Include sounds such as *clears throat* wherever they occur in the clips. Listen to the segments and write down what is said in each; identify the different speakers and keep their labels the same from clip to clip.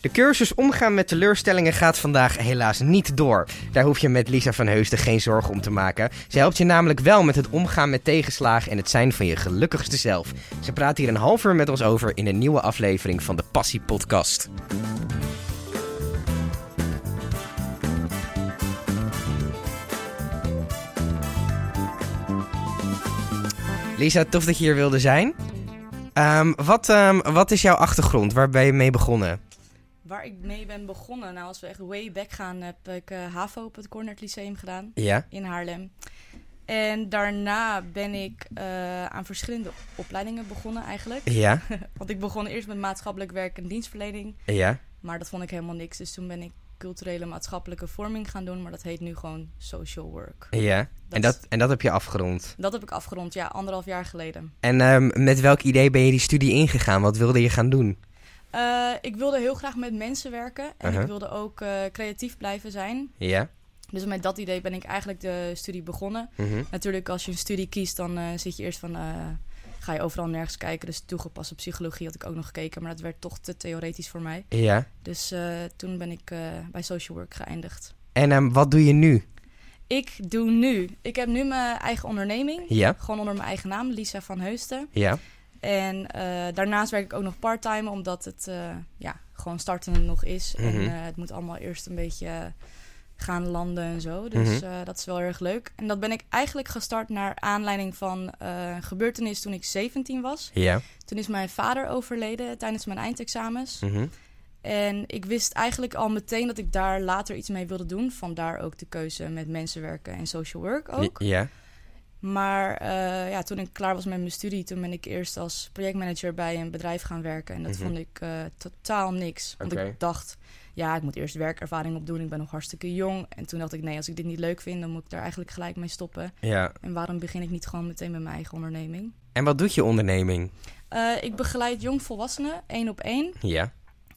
Speaker 1: De cursus Omgaan met teleurstellingen gaat vandaag helaas niet door. Daar hoef je met Lisa van Heusden geen zorgen om te maken. Ze helpt je namelijk wel met het omgaan met tegenslagen en het zijn van je gelukkigste zelf. Ze praat hier een half uur met ons over in een nieuwe aflevering van de Passie Podcast. Lisa, tof dat je hier wilde zijn. Ehm, wat, ehm, wat is jouw achtergrond? Waar ben je mee begonnen?
Speaker 2: Waar ik mee ben begonnen, nou als we echt way back gaan, heb ik eh, HAVO op het Cornert Lyceum gedaan
Speaker 1: Ja?
Speaker 2: in Haarlem. En daarna ben ik eh, aan verschillende opleidingen begonnen eigenlijk.
Speaker 1: Ja?
Speaker 2: Want ik begon eerst met maatschappelijk werk en dienstverlening,
Speaker 1: Ja?
Speaker 2: maar dat vond ik helemaal niks. Dus toen ben ik culturele maatschappelijke vorming gaan doen, maar dat heet nu gewoon social work.
Speaker 1: Ja? En dat, en dat heb je afgerond.
Speaker 2: dat heb ik afgerond, ja, anderhalf jaar geleden.
Speaker 1: En ehm, met welk idee ben je die studie ingegaan? Wat wilde je gaan doen?
Speaker 2: Eh, ik wilde heel graag met mensen werken en
Speaker 1: Uh-huh.
Speaker 2: ik wilde ook eh, creatief blijven zijn.
Speaker 1: Ja?
Speaker 2: Dus met dat idee ben ik eigenlijk de studie begonnen.
Speaker 1: Mhm.
Speaker 2: Natuurlijk, als je een studie kiest, dan eh, zit je eerst van... eh, ga je overal nergens kijken. Dus toegepaste psychologie had ik ook nog gekeken. Maar dat werd toch te theoretisch voor mij.
Speaker 1: Ja?
Speaker 2: Dus eh, toen ben ik eh, bij social work geëindigd.
Speaker 1: En ehm, wat doe je nu?
Speaker 2: Ik doe nu... Ik heb nu mijn eigen onderneming.
Speaker 1: Ja?
Speaker 2: Gewoon onder mijn eigen naam, Lisa van Heusden.
Speaker 1: Ja?
Speaker 2: En eh, daarnaast werk ik ook nog part-time, omdat het eh, ja, gewoon starten nog is. En
Speaker 1: Mhm.
Speaker 2: eh, het moet allemaal eerst een beetje eh, gaan landen en zo. Dus
Speaker 1: Mhm.
Speaker 2: eh, dat is wel erg leuk. En dat ben ik eigenlijk gestart naar aanleiding van eh, een gebeurtenis toen ik 17 was.
Speaker 1: Ja?
Speaker 2: Toen is mijn vader overleden tijdens mijn eindexamens.
Speaker 1: Mhm.
Speaker 2: En ik wist eigenlijk al meteen dat ik daar later iets mee wilde doen. Vandaar ook de keuze met mensen werken en social work ook.
Speaker 1: Ja?
Speaker 2: Maar eh, ja, toen ik klaar was met mijn studie, toen ben ik eerst als projectmanager bij een bedrijf gaan werken. En dat
Speaker 1: Mhm.
Speaker 2: vond ik eh, totaal niks. Want
Speaker 1: Oké.
Speaker 2: ik dacht, ja, ik moet eerst werkervaring opdoen. Ik ben nog hartstikke jong. En toen dacht ik, nee, als ik dit niet leuk vind, dan moet ik daar eigenlijk gelijk mee stoppen.
Speaker 1: Ja?
Speaker 2: En waarom begin ik niet gewoon meteen met mijn eigen onderneming?
Speaker 1: En wat doet je onderneming?
Speaker 2: Eh, ik begeleid jongvolwassenen, één op één,
Speaker 1: Ja?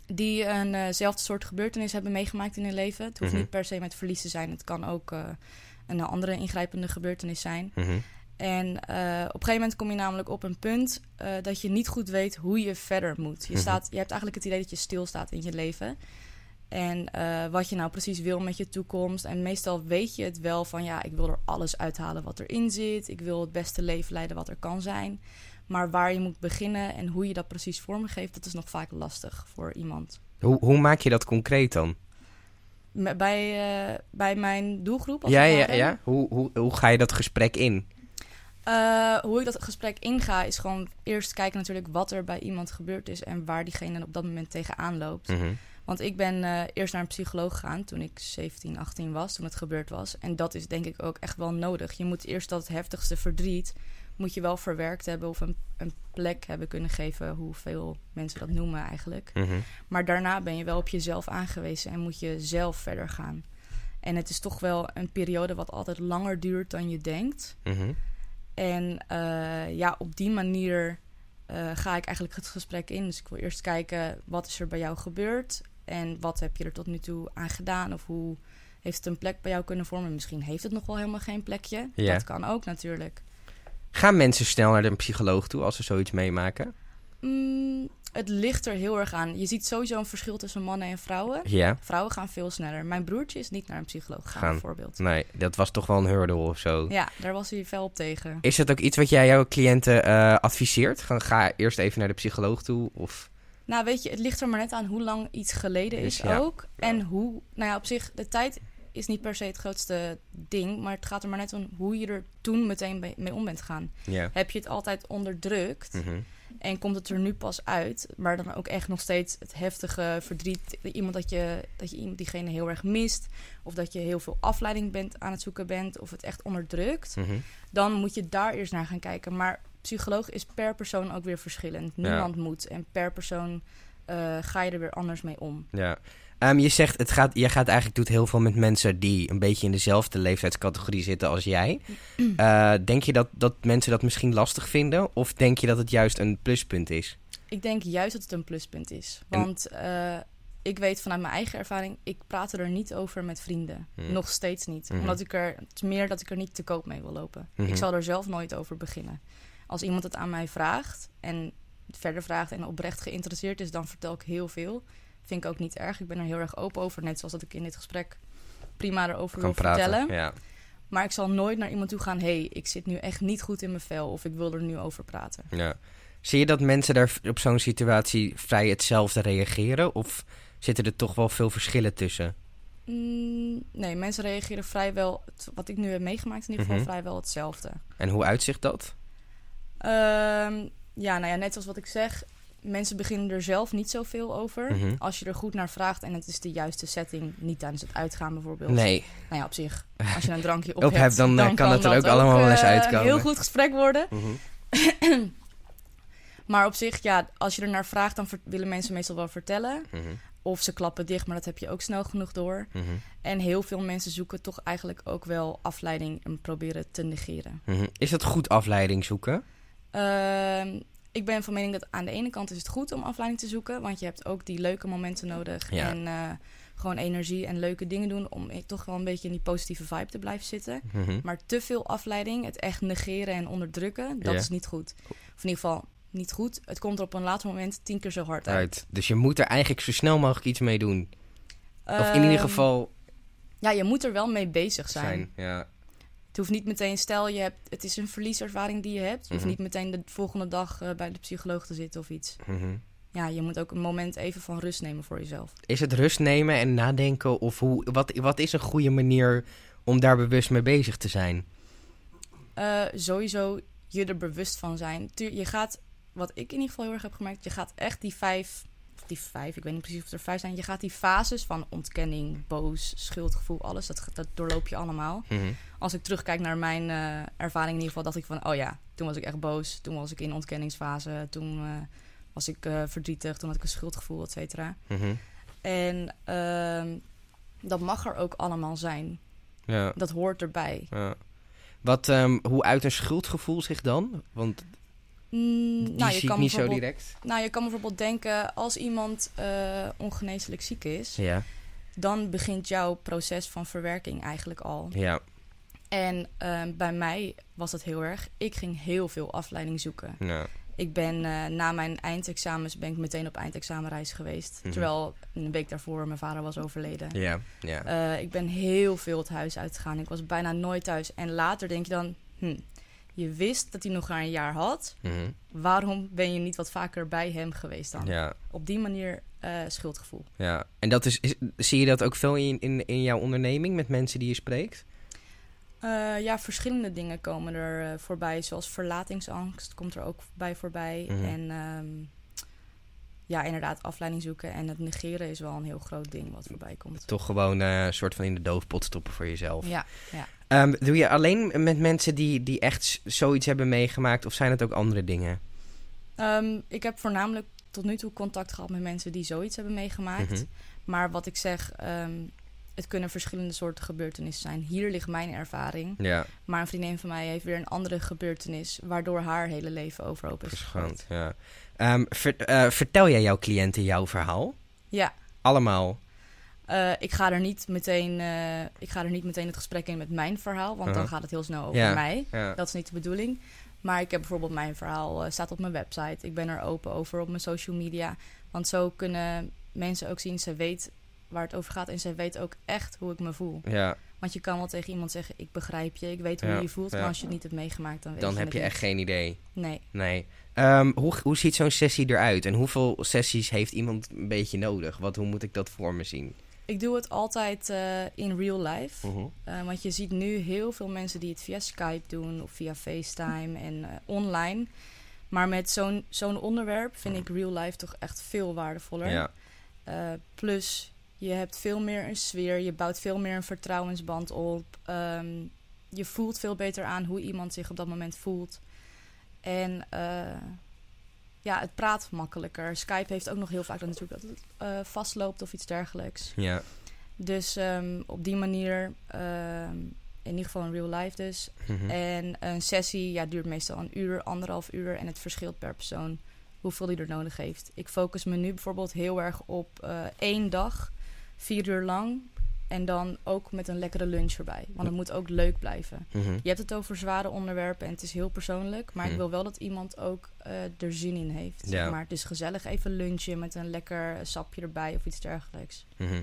Speaker 2: die eenzelfde soort gebeurtenis hebben meegemaakt in hun leven. Het hoeft
Speaker 1: Mhm.
Speaker 2: niet per se met verlies te zijn. Het kan ook eh, een andere ingrijpende gebeurtenis zijn.
Speaker 1: Mhm.
Speaker 2: En eh, op een gegeven moment kom je namelijk op een punt eh, dat je niet goed weet hoe je verder moet. Je,
Speaker 1: Mhm.
Speaker 2: staat, je hebt eigenlijk het idee dat je stilstaat in je leven. En eh, wat je nou precies wil met je toekomst. En meestal weet je het wel van ja, ik wil er alles uithalen wat erin zit. Ik wil het beste leven leiden wat er kan zijn. Maar waar je moet beginnen en hoe je dat precies vormgeeft, dat is nog vaak lastig voor iemand.
Speaker 1: Hoe, hoe maak je dat concreet dan?
Speaker 2: Me- Bij, eh, bij mijn doelgroep. Als
Speaker 1: Ja,
Speaker 2: het nou
Speaker 1: ja,
Speaker 2: ware,
Speaker 1: ja. Hoe, hoe, hoe ga je dat gesprek in?
Speaker 2: Eh, hoe ik dat gesprek inga is gewoon eerst kijken natuurlijk wat er bij iemand gebeurd is en waar diegene op dat moment tegenaan loopt.
Speaker 1: Mhm.
Speaker 2: Want ik ben eh, eerst naar een psycholoog gegaan toen ik 17, 18 was, toen het gebeurd was. En dat is denk ik ook echt wel nodig. Je moet eerst dat heftigste verdriet, moet je wel verwerkt hebben of een, een plek hebben kunnen geven, hoeveel mensen dat noemen eigenlijk.
Speaker 1: Mhm.
Speaker 2: Maar daarna ben je wel op jezelf aangewezen en moet je zelf verder gaan. En het is toch wel een periode wat altijd langer duurt dan je denkt.
Speaker 1: Mhm.
Speaker 2: En eh, ja, op die manier eh, ga ik eigenlijk het gesprek in. Dus ik wil eerst kijken wat is er bij jou gebeurd en wat heb je er tot nu toe aan gedaan of hoe heeft het een plek bij jou kunnen vormen. Misschien heeft het nog wel helemaal geen plekje.
Speaker 1: Ja.
Speaker 2: Dat kan ook natuurlijk.
Speaker 1: Gaan mensen snel naar een psycholoog toe als ze zoiets meemaken?
Speaker 2: Mm, het ligt er heel erg aan. Je ziet sowieso een verschil tussen mannen en vrouwen.
Speaker 1: Ja.
Speaker 2: Vrouwen gaan veel sneller. Mijn broertje is niet naar een psycholoog gegaan,
Speaker 1: Gaan.
Speaker 2: bijvoorbeeld.
Speaker 1: Nee, dat was toch wel een hurdle of zo.
Speaker 2: Ja, daar was hij fel op tegen.
Speaker 1: Is dat ook iets wat jij jouw cliënten eh, adviseert? Ga, ga eerst even naar de psycholoog toe? Of...
Speaker 2: Nou, weet je, het ligt er maar net aan hoe lang iets geleden
Speaker 1: Is,
Speaker 2: is
Speaker 1: ja.
Speaker 2: ook. En hoe, nou ja, op zich, de tijd is niet per se het grootste ding. Maar het gaat er maar net om hoe je er toen meteen be- mee om bent gaan.
Speaker 1: Ja.
Speaker 2: Heb je het altijd onderdrukt
Speaker 1: Mhm.
Speaker 2: en komt het er nu pas uit. Maar dan ook echt nog steeds het heftige verdriet. Iemand dat je, dat je iemand diegene heel erg mist. Of dat je heel veel afleiding bent aan het zoeken bent. Of het echt onderdrukt
Speaker 1: Mhm.
Speaker 2: dan moet je daar eerst naar gaan kijken. Maar psycholoog is per persoon ook weer verschillend. Niemand moet. En per persoon eh, ga je er weer anders mee om.
Speaker 1: Ja. Ehm, je zegt, het gaat, je gaat eigenlijk doet heel veel met mensen die een beetje in dezelfde leeftijdscategorie zitten als jij. Eh, denk je dat, dat mensen dat misschien lastig vinden? Of denk je dat het juist een pluspunt is?
Speaker 2: Ik denk juist dat het een pluspunt is.
Speaker 1: En-
Speaker 2: Want eh, ik weet vanuit mijn eigen ervaring, ik praat er niet over met vrienden.
Speaker 1: Hmm.
Speaker 2: Nog steeds niet.
Speaker 1: Mhm.
Speaker 2: Omdat ik er, het is meer dat ik er niet te koop mee wil lopen.
Speaker 1: Mhm.
Speaker 2: Ik zal er zelf nooit over beginnen. Als iemand het aan mij vraagt en het verder vraagt en oprecht geïnteresseerd is, dan vertel ik heel veel. Vind ik ook niet erg. Ik ben er heel erg open over. Net zoals dat ik in dit gesprek prima erover
Speaker 1: Kan
Speaker 2: wil
Speaker 1: praten.
Speaker 2: vertellen.
Speaker 1: Ja.
Speaker 2: Maar ik zal nooit naar iemand toe gaan... hé, hey, ik zit nu echt niet goed in mijn vel... of ik wil er nu over praten.
Speaker 1: Ja. Zie je dat mensen daar op zo'n situatie vrij hetzelfde reageren? Of zitten er toch wel veel verschillen tussen?
Speaker 2: Mm, nee, mensen reageren vrijwel... wat ik nu heb meegemaakt in ieder geval...
Speaker 1: Mhm.
Speaker 2: vrijwel hetzelfde.
Speaker 1: En hoe uitzicht dat?
Speaker 2: Ehm, ja, nou ja, net zoals wat ik zeg, mensen beginnen er zelf niet zoveel over.
Speaker 1: Mhm.
Speaker 2: Als je er goed naar vraagt en het is de juiste setting, niet tijdens het uitgaan bijvoorbeeld.
Speaker 1: Nee,
Speaker 2: Nou ja, op
Speaker 1: *laughs*
Speaker 2: zich, als je een drankje op,
Speaker 1: Op hebt, dan, eh, kan het er ook allemaal wel eens
Speaker 2: eh,
Speaker 1: uitkomen.
Speaker 2: Heel goed gesprek worden.
Speaker 1: Mhm.
Speaker 2: Maar op zich, ja, als je er naar vraagt, dan ver- willen mensen meestal wel vertellen.
Speaker 1: Mhm.
Speaker 2: Of ze klappen dicht, maar dat heb je ook snel genoeg door.
Speaker 1: Mhm.
Speaker 2: En heel veel mensen zoeken toch eigenlijk ook wel afleiding en proberen te negeren.
Speaker 1: Mhm. is dat goed afleiding zoeken?
Speaker 2: Ehm, ik ben van mening dat aan de ene kant is het goed om afleiding te zoeken, want je hebt ook die leuke momenten nodig
Speaker 1: Ja.
Speaker 2: en eh, gewoon energie en leuke dingen doen om i- toch wel een beetje in die positieve vibe te blijven zitten.
Speaker 1: Mhm.
Speaker 2: Maar te veel afleiding, het echt negeren en onderdrukken, dat
Speaker 1: Ja.
Speaker 2: is niet goed. Of in ieder geval niet goed. Het komt er op een later moment tien keer zo hard uit.
Speaker 1: Uit. Dus je moet er eigenlijk zo snel mogelijk iets mee doen. of in ieder
Speaker 2: Ehm,
Speaker 1: geval
Speaker 2: Ja, je moet er wel mee bezig zijn.
Speaker 1: zijn. Ja.
Speaker 2: Het hoeft niet meteen, stel je hebt, het is een verlieservaring die je hebt. Je hoeft
Speaker 1: Mhm.
Speaker 2: niet meteen de volgende dag eh, bij de psycholoog te zitten of iets.
Speaker 1: Mhm.
Speaker 2: Ja, je moet ook een moment even van rust nemen voor jezelf.
Speaker 1: Is het rust nemen en nadenken? Of hoe, wat, wat is een goede manier om daar bewust mee bezig te zijn?
Speaker 2: Eh, sowieso je er bewust van zijn. Tuur- Je gaat, wat ik in ieder geval heel erg heb gemerkt, je gaat echt die vijf, of die vijf, ik weet niet precies of er vijf zijn. Je gaat die fases van ontkenning, boos, schuldgevoel, alles, dat, dat doorloop je allemaal.
Speaker 1: Mhm.
Speaker 2: Als ik terugkijk naar mijn eh, ervaring in ieder geval, dacht ik van, oh ja, toen was ik echt boos. Toen was ik in ontkenningsfase, toen eh, was ik eh, verdrietig, toen had ik een schuldgevoel, et cetera.
Speaker 1: Mhm.
Speaker 2: En ehm, dat mag er ook allemaal zijn.
Speaker 1: Ja.
Speaker 2: Dat hoort erbij.
Speaker 1: Ja. Wat, ehm, hoe uit een schuldgevoel zich dan? Want
Speaker 2: Mm,
Speaker 1: die
Speaker 2: nou, je
Speaker 1: zie ik
Speaker 2: kan
Speaker 1: niet zo
Speaker 2: bijvoorbeeld-
Speaker 1: direct.
Speaker 2: Nou, je kan bijvoorbeeld denken, als iemand eh, ongeneeslijk ziek is,
Speaker 1: Ja,
Speaker 2: dan begint jouw proces van verwerking eigenlijk al.
Speaker 1: ja.
Speaker 2: En eh, bij mij was dat heel erg. Ik ging heel veel afleiding zoeken.
Speaker 1: ja.
Speaker 2: Ik ben eh, na mijn eindexamens ben ik meteen op eindexamenreis geweest.
Speaker 1: Mhm.
Speaker 2: Terwijl een week daarvoor mijn vader was overleden.
Speaker 1: Ja, ja.
Speaker 2: Eh, ik ben heel veel het huis uitgegaan. Ik was bijna nooit thuis. En later denk je dan, hm, je wist dat hij nog maar een jaar had.
Speaker 1: Mhm.
Speaker 2: Waarom ben je niet wat vaker bij hem geweest dan?
Speaker 1: ja,
Speaker 2: Op die manier eh, schuldgevoel.
Speaker 1: ja. En dat is, is- zie je dat ook veel in, in, in jouw onderneming met mensen die je spreekt?
Speaker 2: Eh, ja, verschillende dingen komen er eh, voorbij. Zoals verlatingsangst komt er ook bij voorbij.
Speaker 1: Mhm.
Speaker 2: En ehm, ja, inderdaad, afleiding zoeken en het negeren is wel een heel groot ding wat voorbij komt.
Speaker 1: Toch gewoon eh, een soort van in de doofpot stoppen voor jezelf.
Speaker 2: Ja,
Speaker 1: Ehm, doe je alleen met mensen die, die echt z- zoiets hebben meegemaakt of zijn het ook andere dingen?
Speaker 2: Ehm, ik heb voornamelijk tot nu toe contact gehad met mensen die zoiets hebben meegemaakt.
Speaker 1: Mhm.
Speaker 2: Maar wat ik zeg, ehm, het kunnen verschillende soorten gebeurtenissen zijn. Hier ligt mijn ervaring.
Speaker 1: Ja,
Speaker 2: Maar een vriendin van mij heeft weer een andere gebeurtenis, waardoor haar hele leven overhoop is gegooid.
Speaker 1: verschoond. Ja. Ehm, ver- eh, vertel jij jouw cliënten jouw verhaal?
Speaker 2: Ja,
Speaker 1: Allemaal?
Speaker 2: Eh, ik, ga er niet meteen, eh, ik ga er niet meteen het gesprek in met mijn verhaal, want dan
Speaker 1: Aha.
Speaker 2: gaat het heel snel over
Speaker 1: Uh-huh. Ja.
Speaker 2: mij.
Speaker 1: Ja.
Speaker 2: Dat is niet de bedoeling. Maar ik heb bijvoorbeeld mijn verhaal, eh, staat op mijn website. Ik ben er open over op mijn social media. Want zo kunnen mensen ook zien, ze weet waar het over gaat en ze weet ook echt hoe ik me voel.
Speaker 1: ja.
Speaker 2: Want je kan wel tegen iemand zeggen, ik begrijp je, ik weet hoe
Speaker 1: Ja,
Speaker 2: je je voelt.
Speaker 1: ja.
Speaker 2: Maar als je het niet hebt meegemaakt, dan weet
Speaker 1: Dan
Speaker 2: je
Speaker 1: heb
Speaker 2: het
Speaker 1: je
Speaker 2: niet.
Speaker 1: echt geen idee.
Speaker 2: Nee.
Speaker 1: Nee. Ehm, hoe, hoe ziet zo'n sessie eruit? En hoeveel sessies heeft iemand een beetje nodig? Wat, hoe moet ik dat voor me zien?
Speaker 2: Ik doe het altijd eh, in real
Speaker 1: Mhm.
Speaker 2: life. Eh, want je ziet nu heel veel mensen die het via Skype doen of via FaceTime en eh, online. Maar met zo'n zo'n onderwerp vind ik real life toch echt veel waardevoller.
Speaker 1: Ja.
Speaker 2: Eh, plus, je hebt veel meer een sfeer, je bouwt veel meer een vertrouwensband op. Ehm, je voelt veel beter aan hoe iemand zich op dat moment voelt. En eh, ja, het praat makkelijker. Skype heeft ook nog heel vaak dat natuurlijk dat het eh, vastloopt of iets dergelijks.
Speaker 1: ja.
Speaker 2: Dus ehm, op die manier, ehm, in ieder geval in real life dus.
Speaker 1: Mhm.
Speaker 2: En een sessie ja, duurt meestal een uur, anderhalf uur. En het verschilt per persoon hoeveel die er nodig heeft. Ik focus me nu bijvoorbeeld heel erg op eh, één dag, vier uur lang. En dan ook met een lekkere lunch erbij. Want het moet ook leuk blijven.
Speaker 1: Mhm.
Speaker 2: Je hebt het over zware onderwerpen en het is heel persoonlijk. Maar
Speaker 1: Mm.
Speaker 2: ik wil wel dat iemand ook eh, er zin in heeft.
Speaker 1: Ja.
Speaker 2: Zeg maar het is gezellig even lunchen met een lekker sapje erbij of iets dergelijks.
Speaker 1: Mhm.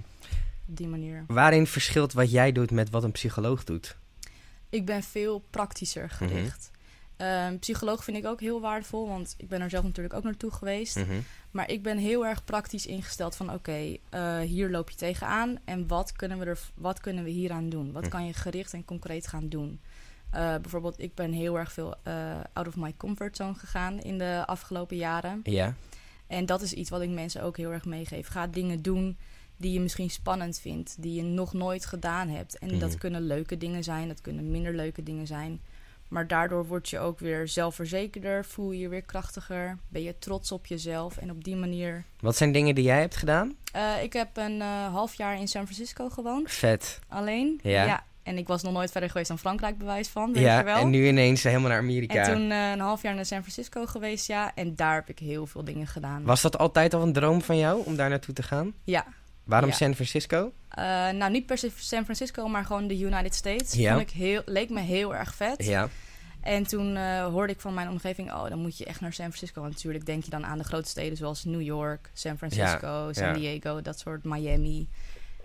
Speaker 2: Op die manier.
Speaker 1: Waarin verschilt wat jij doet met wat een psycholoog doet?
Speaker 2: Ik ben veel praktischer gericht. Ehm, psycholoog vind ik ook heel waardevol, want ik ben er zelf natuurlijk ook naartoe geweest.
Speaker 1: Mhm.
Speaker 2: Maar ik ben heel erg praktisch ingesteld van oké, eh, hier loop je tegenaan en wat kunnen we, er, wat kunnen we hieraan doen? Wat
Speaker 1: Hm.
Speaker 2: kan je gericht en concreet gaan doen? Eh, bijvoorbeeld, ik ben heel erg veel eh, out of my comfort zone gegaan in de afgelopen jaren.
Speaker 1: Ja.
Speaker 2: En dat is iets wat ik mensen ook heel erg meegeef. Ga dingen doen die je misschien spannend vindt, die je nog nooit gedaan hebt. En
Speaker 1: Mhm.
Speaker 2: dat kunnen leuke dingen zijn, dat kunnen minder leuke dingen zijn. Maar daardoor word je ook weer zelfverzekerder, voel je je weer krachtiger, ben je trots op jezelf. En op die manier.
Speaker 1: Wat zijn dingen die jij hebt gedaan?
Speaker 2: Eh, ik heb een eh, half jaar in San Francisco gewoond,
Speaker 1: Vet.
Speaker 2: alleen.
Speaker 1: Ja.
Speaker 2: En ik was nog nooit verder geweest dan Frankrijk, bewijs van, weet je
Speaker 1: Ja,
Speaker 2: wel.
Speaker 1: en nu ineens helemaal naar Amerika.
Speaker 2: En toen eh, een half jaar naar San Francisco geweest, ja. En daar heb ik heel veel dingen gedaan.
Speaker 1: Was dat altijd al een droom van jou om daar naartoe te gaan?
Speaker 2: Ja,
Speaker 1: Waarom
Speaker 2: Ja.
Speaker 1: San Francisco?
Speaker 2: Eh, nou, niet per se San Francisco, maar gewoon de United States.
Speaker 1: Ja.
Speaker 2: Vond ik heel, leek me heel erg vet.
Speaker 1: Ja.
Speaker 2: En toen eh, hoorde ik van mijn omgeving, oh, dan moet je echt naar San Francisco. Want natuurlijk denk je dan aan de grote steden zoals New York, San Francisco, San
Speaker 1: ja.
Speaker 2: Diego, dat soort Miami.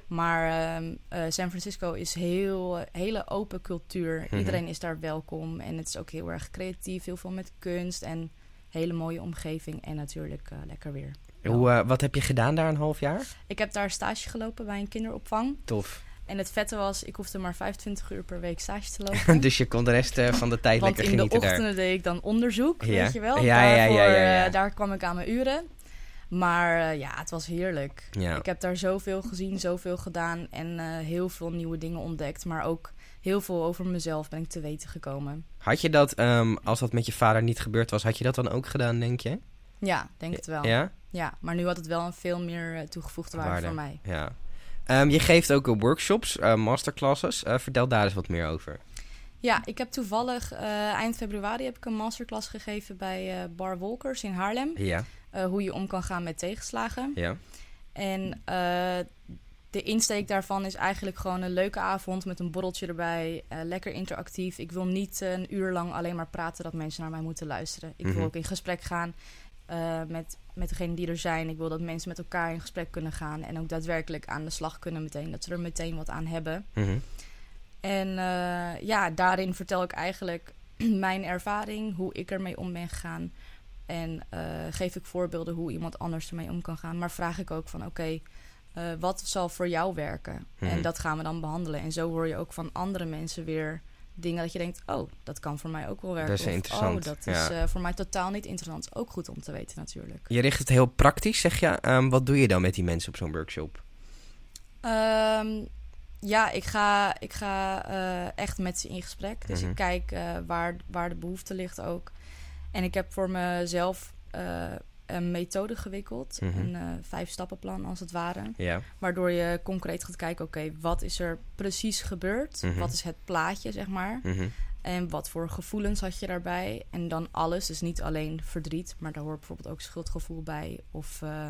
Speaker 2: Maar ehm, eh, San Francisco is heel, hele open cultuur.
Speaker 1: Mhm.
Speaker 2: Iedereen is daar welkom. En het is ook heel erg creatief, heel veel met kunst en hele mooie omgeving. En natuurlijk eh, lekker weer.
Speaker 1: Hoe, eh, wat heb je gedaan daar een half jaar?
Speaker 2: Ik heb daar stage gelopen bij een kinderopvang.
Speaker 1: Tof.
Speaker 2: En het vette was, ik hoefde maar 25 uur per week stage te
Speaker 1: *laughs*
Speaker 2: lopen.
Speaker 1: dus je kon de rest eh, van de tijd
Speaker 2: Want
Speaker 1: lekker
Speaker 2: in de
Speaker 1: genieten
Speaker 2: ochtenden
Speaker 1: daar.
Speaker 2: deed ik dan onderzoek,
Speaker 1: Ja.
Speaker 2: weet je wel.
Speaker 1: Ja, ja, ja,
Speaker 2: Daarvoor,
Speaker 1: ja, ja.
Speaker 2: eh, daar kwam ik aan mijn uren. Maar eh, ja, het was heerlijk.
Speaker 1: Ja.
Speaker 2: Ik heb daar zoveel gezien, zoveel gedaan en eh, heel veel nieuwe dingen ontdekt. Maar ook heel veel over mezelf ben ik te weten gekomen.
Speaker 1: Had je dat, ehm, als dat met je vader niet gebeurd was, had je dat dan ook gedaan, denk je?
Speaker 2: Ja, denk het wel. Ja,
Speaker 1: Ja?
Speaker 2: maar nu had het wel een veel meer eh, toegevoegde waarde,
Speaker 1: Waarde.
Speaker 2: voor mij.
Speaker 1: Ja. Ehm, je geeft ook eh, workshops, eh, masterclasses. Eh, vertel daar eens wat meer over.
Speaker 2: Ja, ik heb toevallig eh, eind februari heb ik een masterclass gegeven bij eh, Bar Wolkers in Haarlem.
Speaker 1: Ja,
Speaker 2: eh, hoe je om kan gaan met tegenslagen.
Speaker 1: ja.
Speaker 2: En eh, de insteek daarvan is eigenlijk gewoon een leuke avond met een borreltje erbij. eh, lekker interactief. Ik wil niet eh, een uur lang alleen maar praten dat mensen naar mij moeten luisteren. Ik
Speaker 1: Mhm.
Speaker 2: wil ook in gesprek gaan eh, met, met degenen die er zijn. Ik wil dat mensen met elkaar in gesprek kunnen gaan. En ook daadwerkelijk aan de slag kunnen meteen. Dat ze er meteen wat aan hebben.
Speaker 1: Mhm.
Speaker 2: En eh, ja, daarin vertel ik eigenlijk *clears throat* mijn ervaring, hoe ik ermee om ben gegaan. En eh, geef ik voorbeelden hoe iemand anders ermee om kan gaan. Maar vraag ik ook van oké, eh, wat zal voor jou werken?
Speaker 1: Mhm.
Speaker 2: En dat gaan we dan behandelen. En zo hoor je ook van andere mensen weer dingen dat je denkt, oh, dat kan voor mij ook wel werken.
Speaker 1: Dat is
Speaker 2: Of,
Speaker 1: interessant,
Speaker 2: Oh, dat
Speaker 1: ja.
Speaker 2: is eh, voor mij totaal niet interessant. Ook goed om te weten natuurlijk.
Speaker 1: Je richt het heel praktisch, zeg je. Ehm, wat doe je dan met die mensen op zo'n workshop?
Speaker 2: Ehm, ja, ik ga, ik ga eh, echt met ze in gesprek. Dus
Speaker 1: Mhm.
Speaker 2: ik kijk eh, waar, waar de behoefte ligt ook. En ik heb voor mezelf eh, een methode gewikkeld.
Speaker 1: Mhm.
Speaker 2: Een eh vijf-stappenplan als het ware.
Speaker 1: Ja.
Speaker 2: Waardoor je concreet gaat kijken, oké, wat is er precies gebeurd?
Speaker 1: Mhm.
Speaker 2: Wat is het plaatje, zeg maar?
Speaker 1: Mhm.
Speaker 2: En wat voor gevoelens had je daarbij? En dan alles, dus niet alleen verdriet, maar daar hoort bijvoorbeeld ook schuldgevoel bij. Of eh,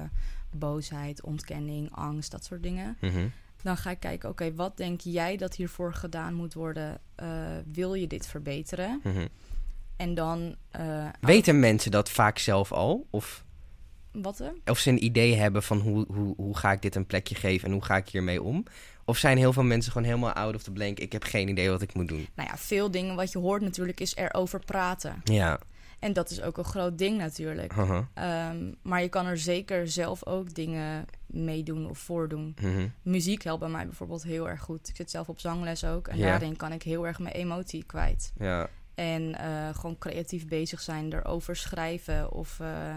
Speaker 2: boosheid, ontkenning, angst, dat soort dingen
Speaker 1: Mhm.
Speaker 2: dan ga ik kijken, oké, wat denk jij dat hiervoor gedaan moet worden? Eh, wil je dit verbeteren?
Speaker 1: Mhm.
Speaker 2: En dan... eh,
Speaker 1: Weten mensen dat vaak zelf al? Of,
Speaker 2: Wat? eh?
Speaker 1: of ze een idee hebben van hoe, hoe, hoe ga ik dit een plekje geven en hoe ga ik hiermee om? Of zijn heel veel mensen gewoon helemaal out of the blank? Ik heb geen idee wat ik moet doen.
Speaker 2: Nou ja, veel dingen wat je hoort natuurlijk is erover praten.
Speaker 1: Ja. Uh-huh,
Speaker 2: En dat is ook een groot ding natuurlijk.
Speaker 1: Haha.
Speaker 2: Ehm, maar je kan er zeker zelf ook dingen meedoen of voordoen.
Speaker 1: Mhm.
Speaker 2: Muziek helpt bij mij bijvoorbeeld heel erg goed. Ik zit zelf op zangles ook. En
Speaker 1: Ja.
Speaker 2: daarin kan ik heel erg mijn emotie kwijt.
Speaker 1: Ja.
Speaker 2: En eh, gewoon creatief bezig zijn, erover schrijven of eh,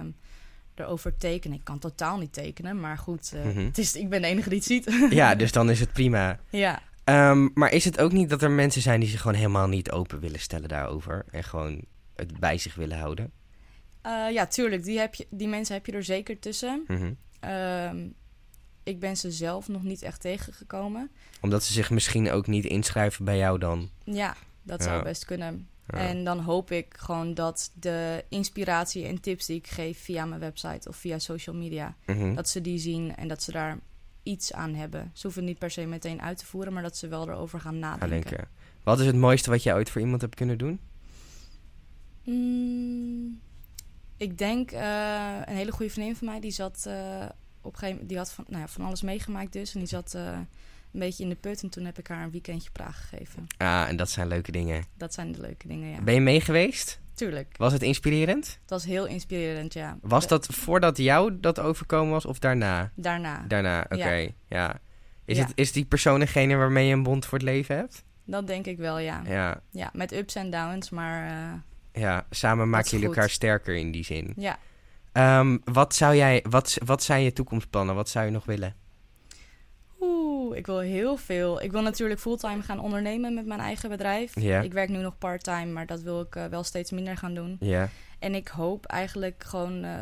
Speaker 2: erover tekenen. Ik kan totaal niet tekenen, maar goed, eh,
Speaker 1: Mhm.
Speaker 2: *laughs* het is, ik ben de enige die het ziet. *laughs*
Speaker 1: ja, dus dan is het prima.
Speaker 2: ja.
Speaker 1: Ehm, maar is het ook niet dat er mensen zijn die zich gewoon helemaal niet open willen stellen daarover? En gewoon het bij zich willen houden?
Speaker 2: Eh, ja, tuurlijk, die, heb je, die mensen heb je er zeker tussen.
Speaker 1: Mhm.
Speaker 2: Ehm, ik ben ze zelf nog niet echt tegengekomen.
Speaker 1: Omdat ze zich misschien ook niet inschrijven bij jou dan.
Speaker 2: Ja, dat
Speaker 1: Ja.
Speaker 2: zou best kunnen.
Speaker 1: Ja.
Speaker 2: En dan hoop ik gewoon dat de inspiratie en tips die ik geef via mijn website of via social media,
Speaker 1: Mhm.
Speaker 2: dat ze die zien en dat ze daar iets aan hebben. Ze hoeven het niet per se meteen uit te voeren, maar dat ze wel erover gaan
Speaker 1: Gaan
Speaker 2: nadenken.
Speaker 1: denken. Wat is het mooiste wat jij ooit voor iemand hebt kunnen doen?
Speaker 2: Mm, ik denk eh, een hele goede vriendin van mij die zat eh, op een gegeven moment, die had van, nou ja, van alles meegemaakt dus en die zat eh, een beetje in de put en toen heb ik haar een weekendje Praag gegeven.
Speaker 1: Ah, en dat zijn leuke dingen.
Speaker 2: Dat zijn de leuke dingen, ja.
Speaker 1: Ben je mee geweest?
Speaker 2: Tuurlijk.
Speaker 1: Was het inspirerend?
Speaker 2: Het was heel inspirerend, ja.
Speaker 1: Was
Speaker 2: Da-
Speaker 1: dat voordat jou dat overkomen was of daarna?
Speaker 2: Daarna.
Speaker 1: Daarna, oké. Ja. Is,
Speaker 2: Ja.
Speaker 1: Het, is die persoon degene waarmee je een bond voor het leven hebt?
Speaker 2: Dat denk ik wel, ja. ja.
Speaker 1: Ja.
Speaker 2: met ups en downs, maar eh,
Speaker 1: Ja, samen maken
Speaker 2: is
Speaker 1: jullie
Speaker 2: goed.
Speaker 1: elkaar sterker in die zin.
Speaker 2: ja.
Speaker 1: Ehm, wat, zou jij, wat, wat zijn je toekomstplannen? Wat zou je nog willen?
Speaker 2: Oeh, ik wil heel veel. Ik wil natuurlijk fulltime gaan ondernemen met mijn eigen bedrijf.
Speaker 1: Ja.
Speaker 2: Ik werk nu nog parttime, maar dat wil ik eh, wel steeds minder gaan doen.
Speaker 1: Ja.
Speaker 2: En ik hoop eigenlijk gewoon eh,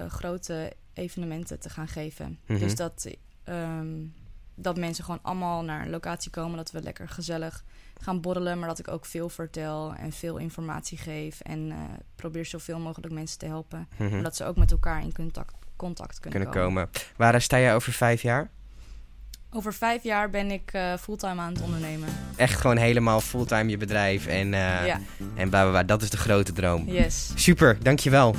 Speaker 2: eh, grote evenementen te gaan geven.
Speaker 1: Mhm.
Speaker 2: Dus dat, ehm, dat mensen gewoon allemaal naar een locatie komen. Dat we lekker gezellig gaan borrelen. Maar dat ik ook veel vertel en veel informatie geef. En eh, probeer zoveel mogelijk mensen te helpen.
Speaker 1: Mhm.
Speaker 2: Zodat ze ook met elkaar in contact, contact kunnen,
Speaker 1: Kunnen komen. Waar sta jij over vijf jaar?
Speaker 2: Over vijf jaar ben ik eh, fulltime aan het ondernemen.
Speaker 1: Echt gewoon helemaal fulltime je bedrijf en, eh
Speaker 2: ja,
Speaker 1: en bla bla bla. Dat is de grote droom.
Speaker 2: yes.
Speaker 1: Super, dankjewel.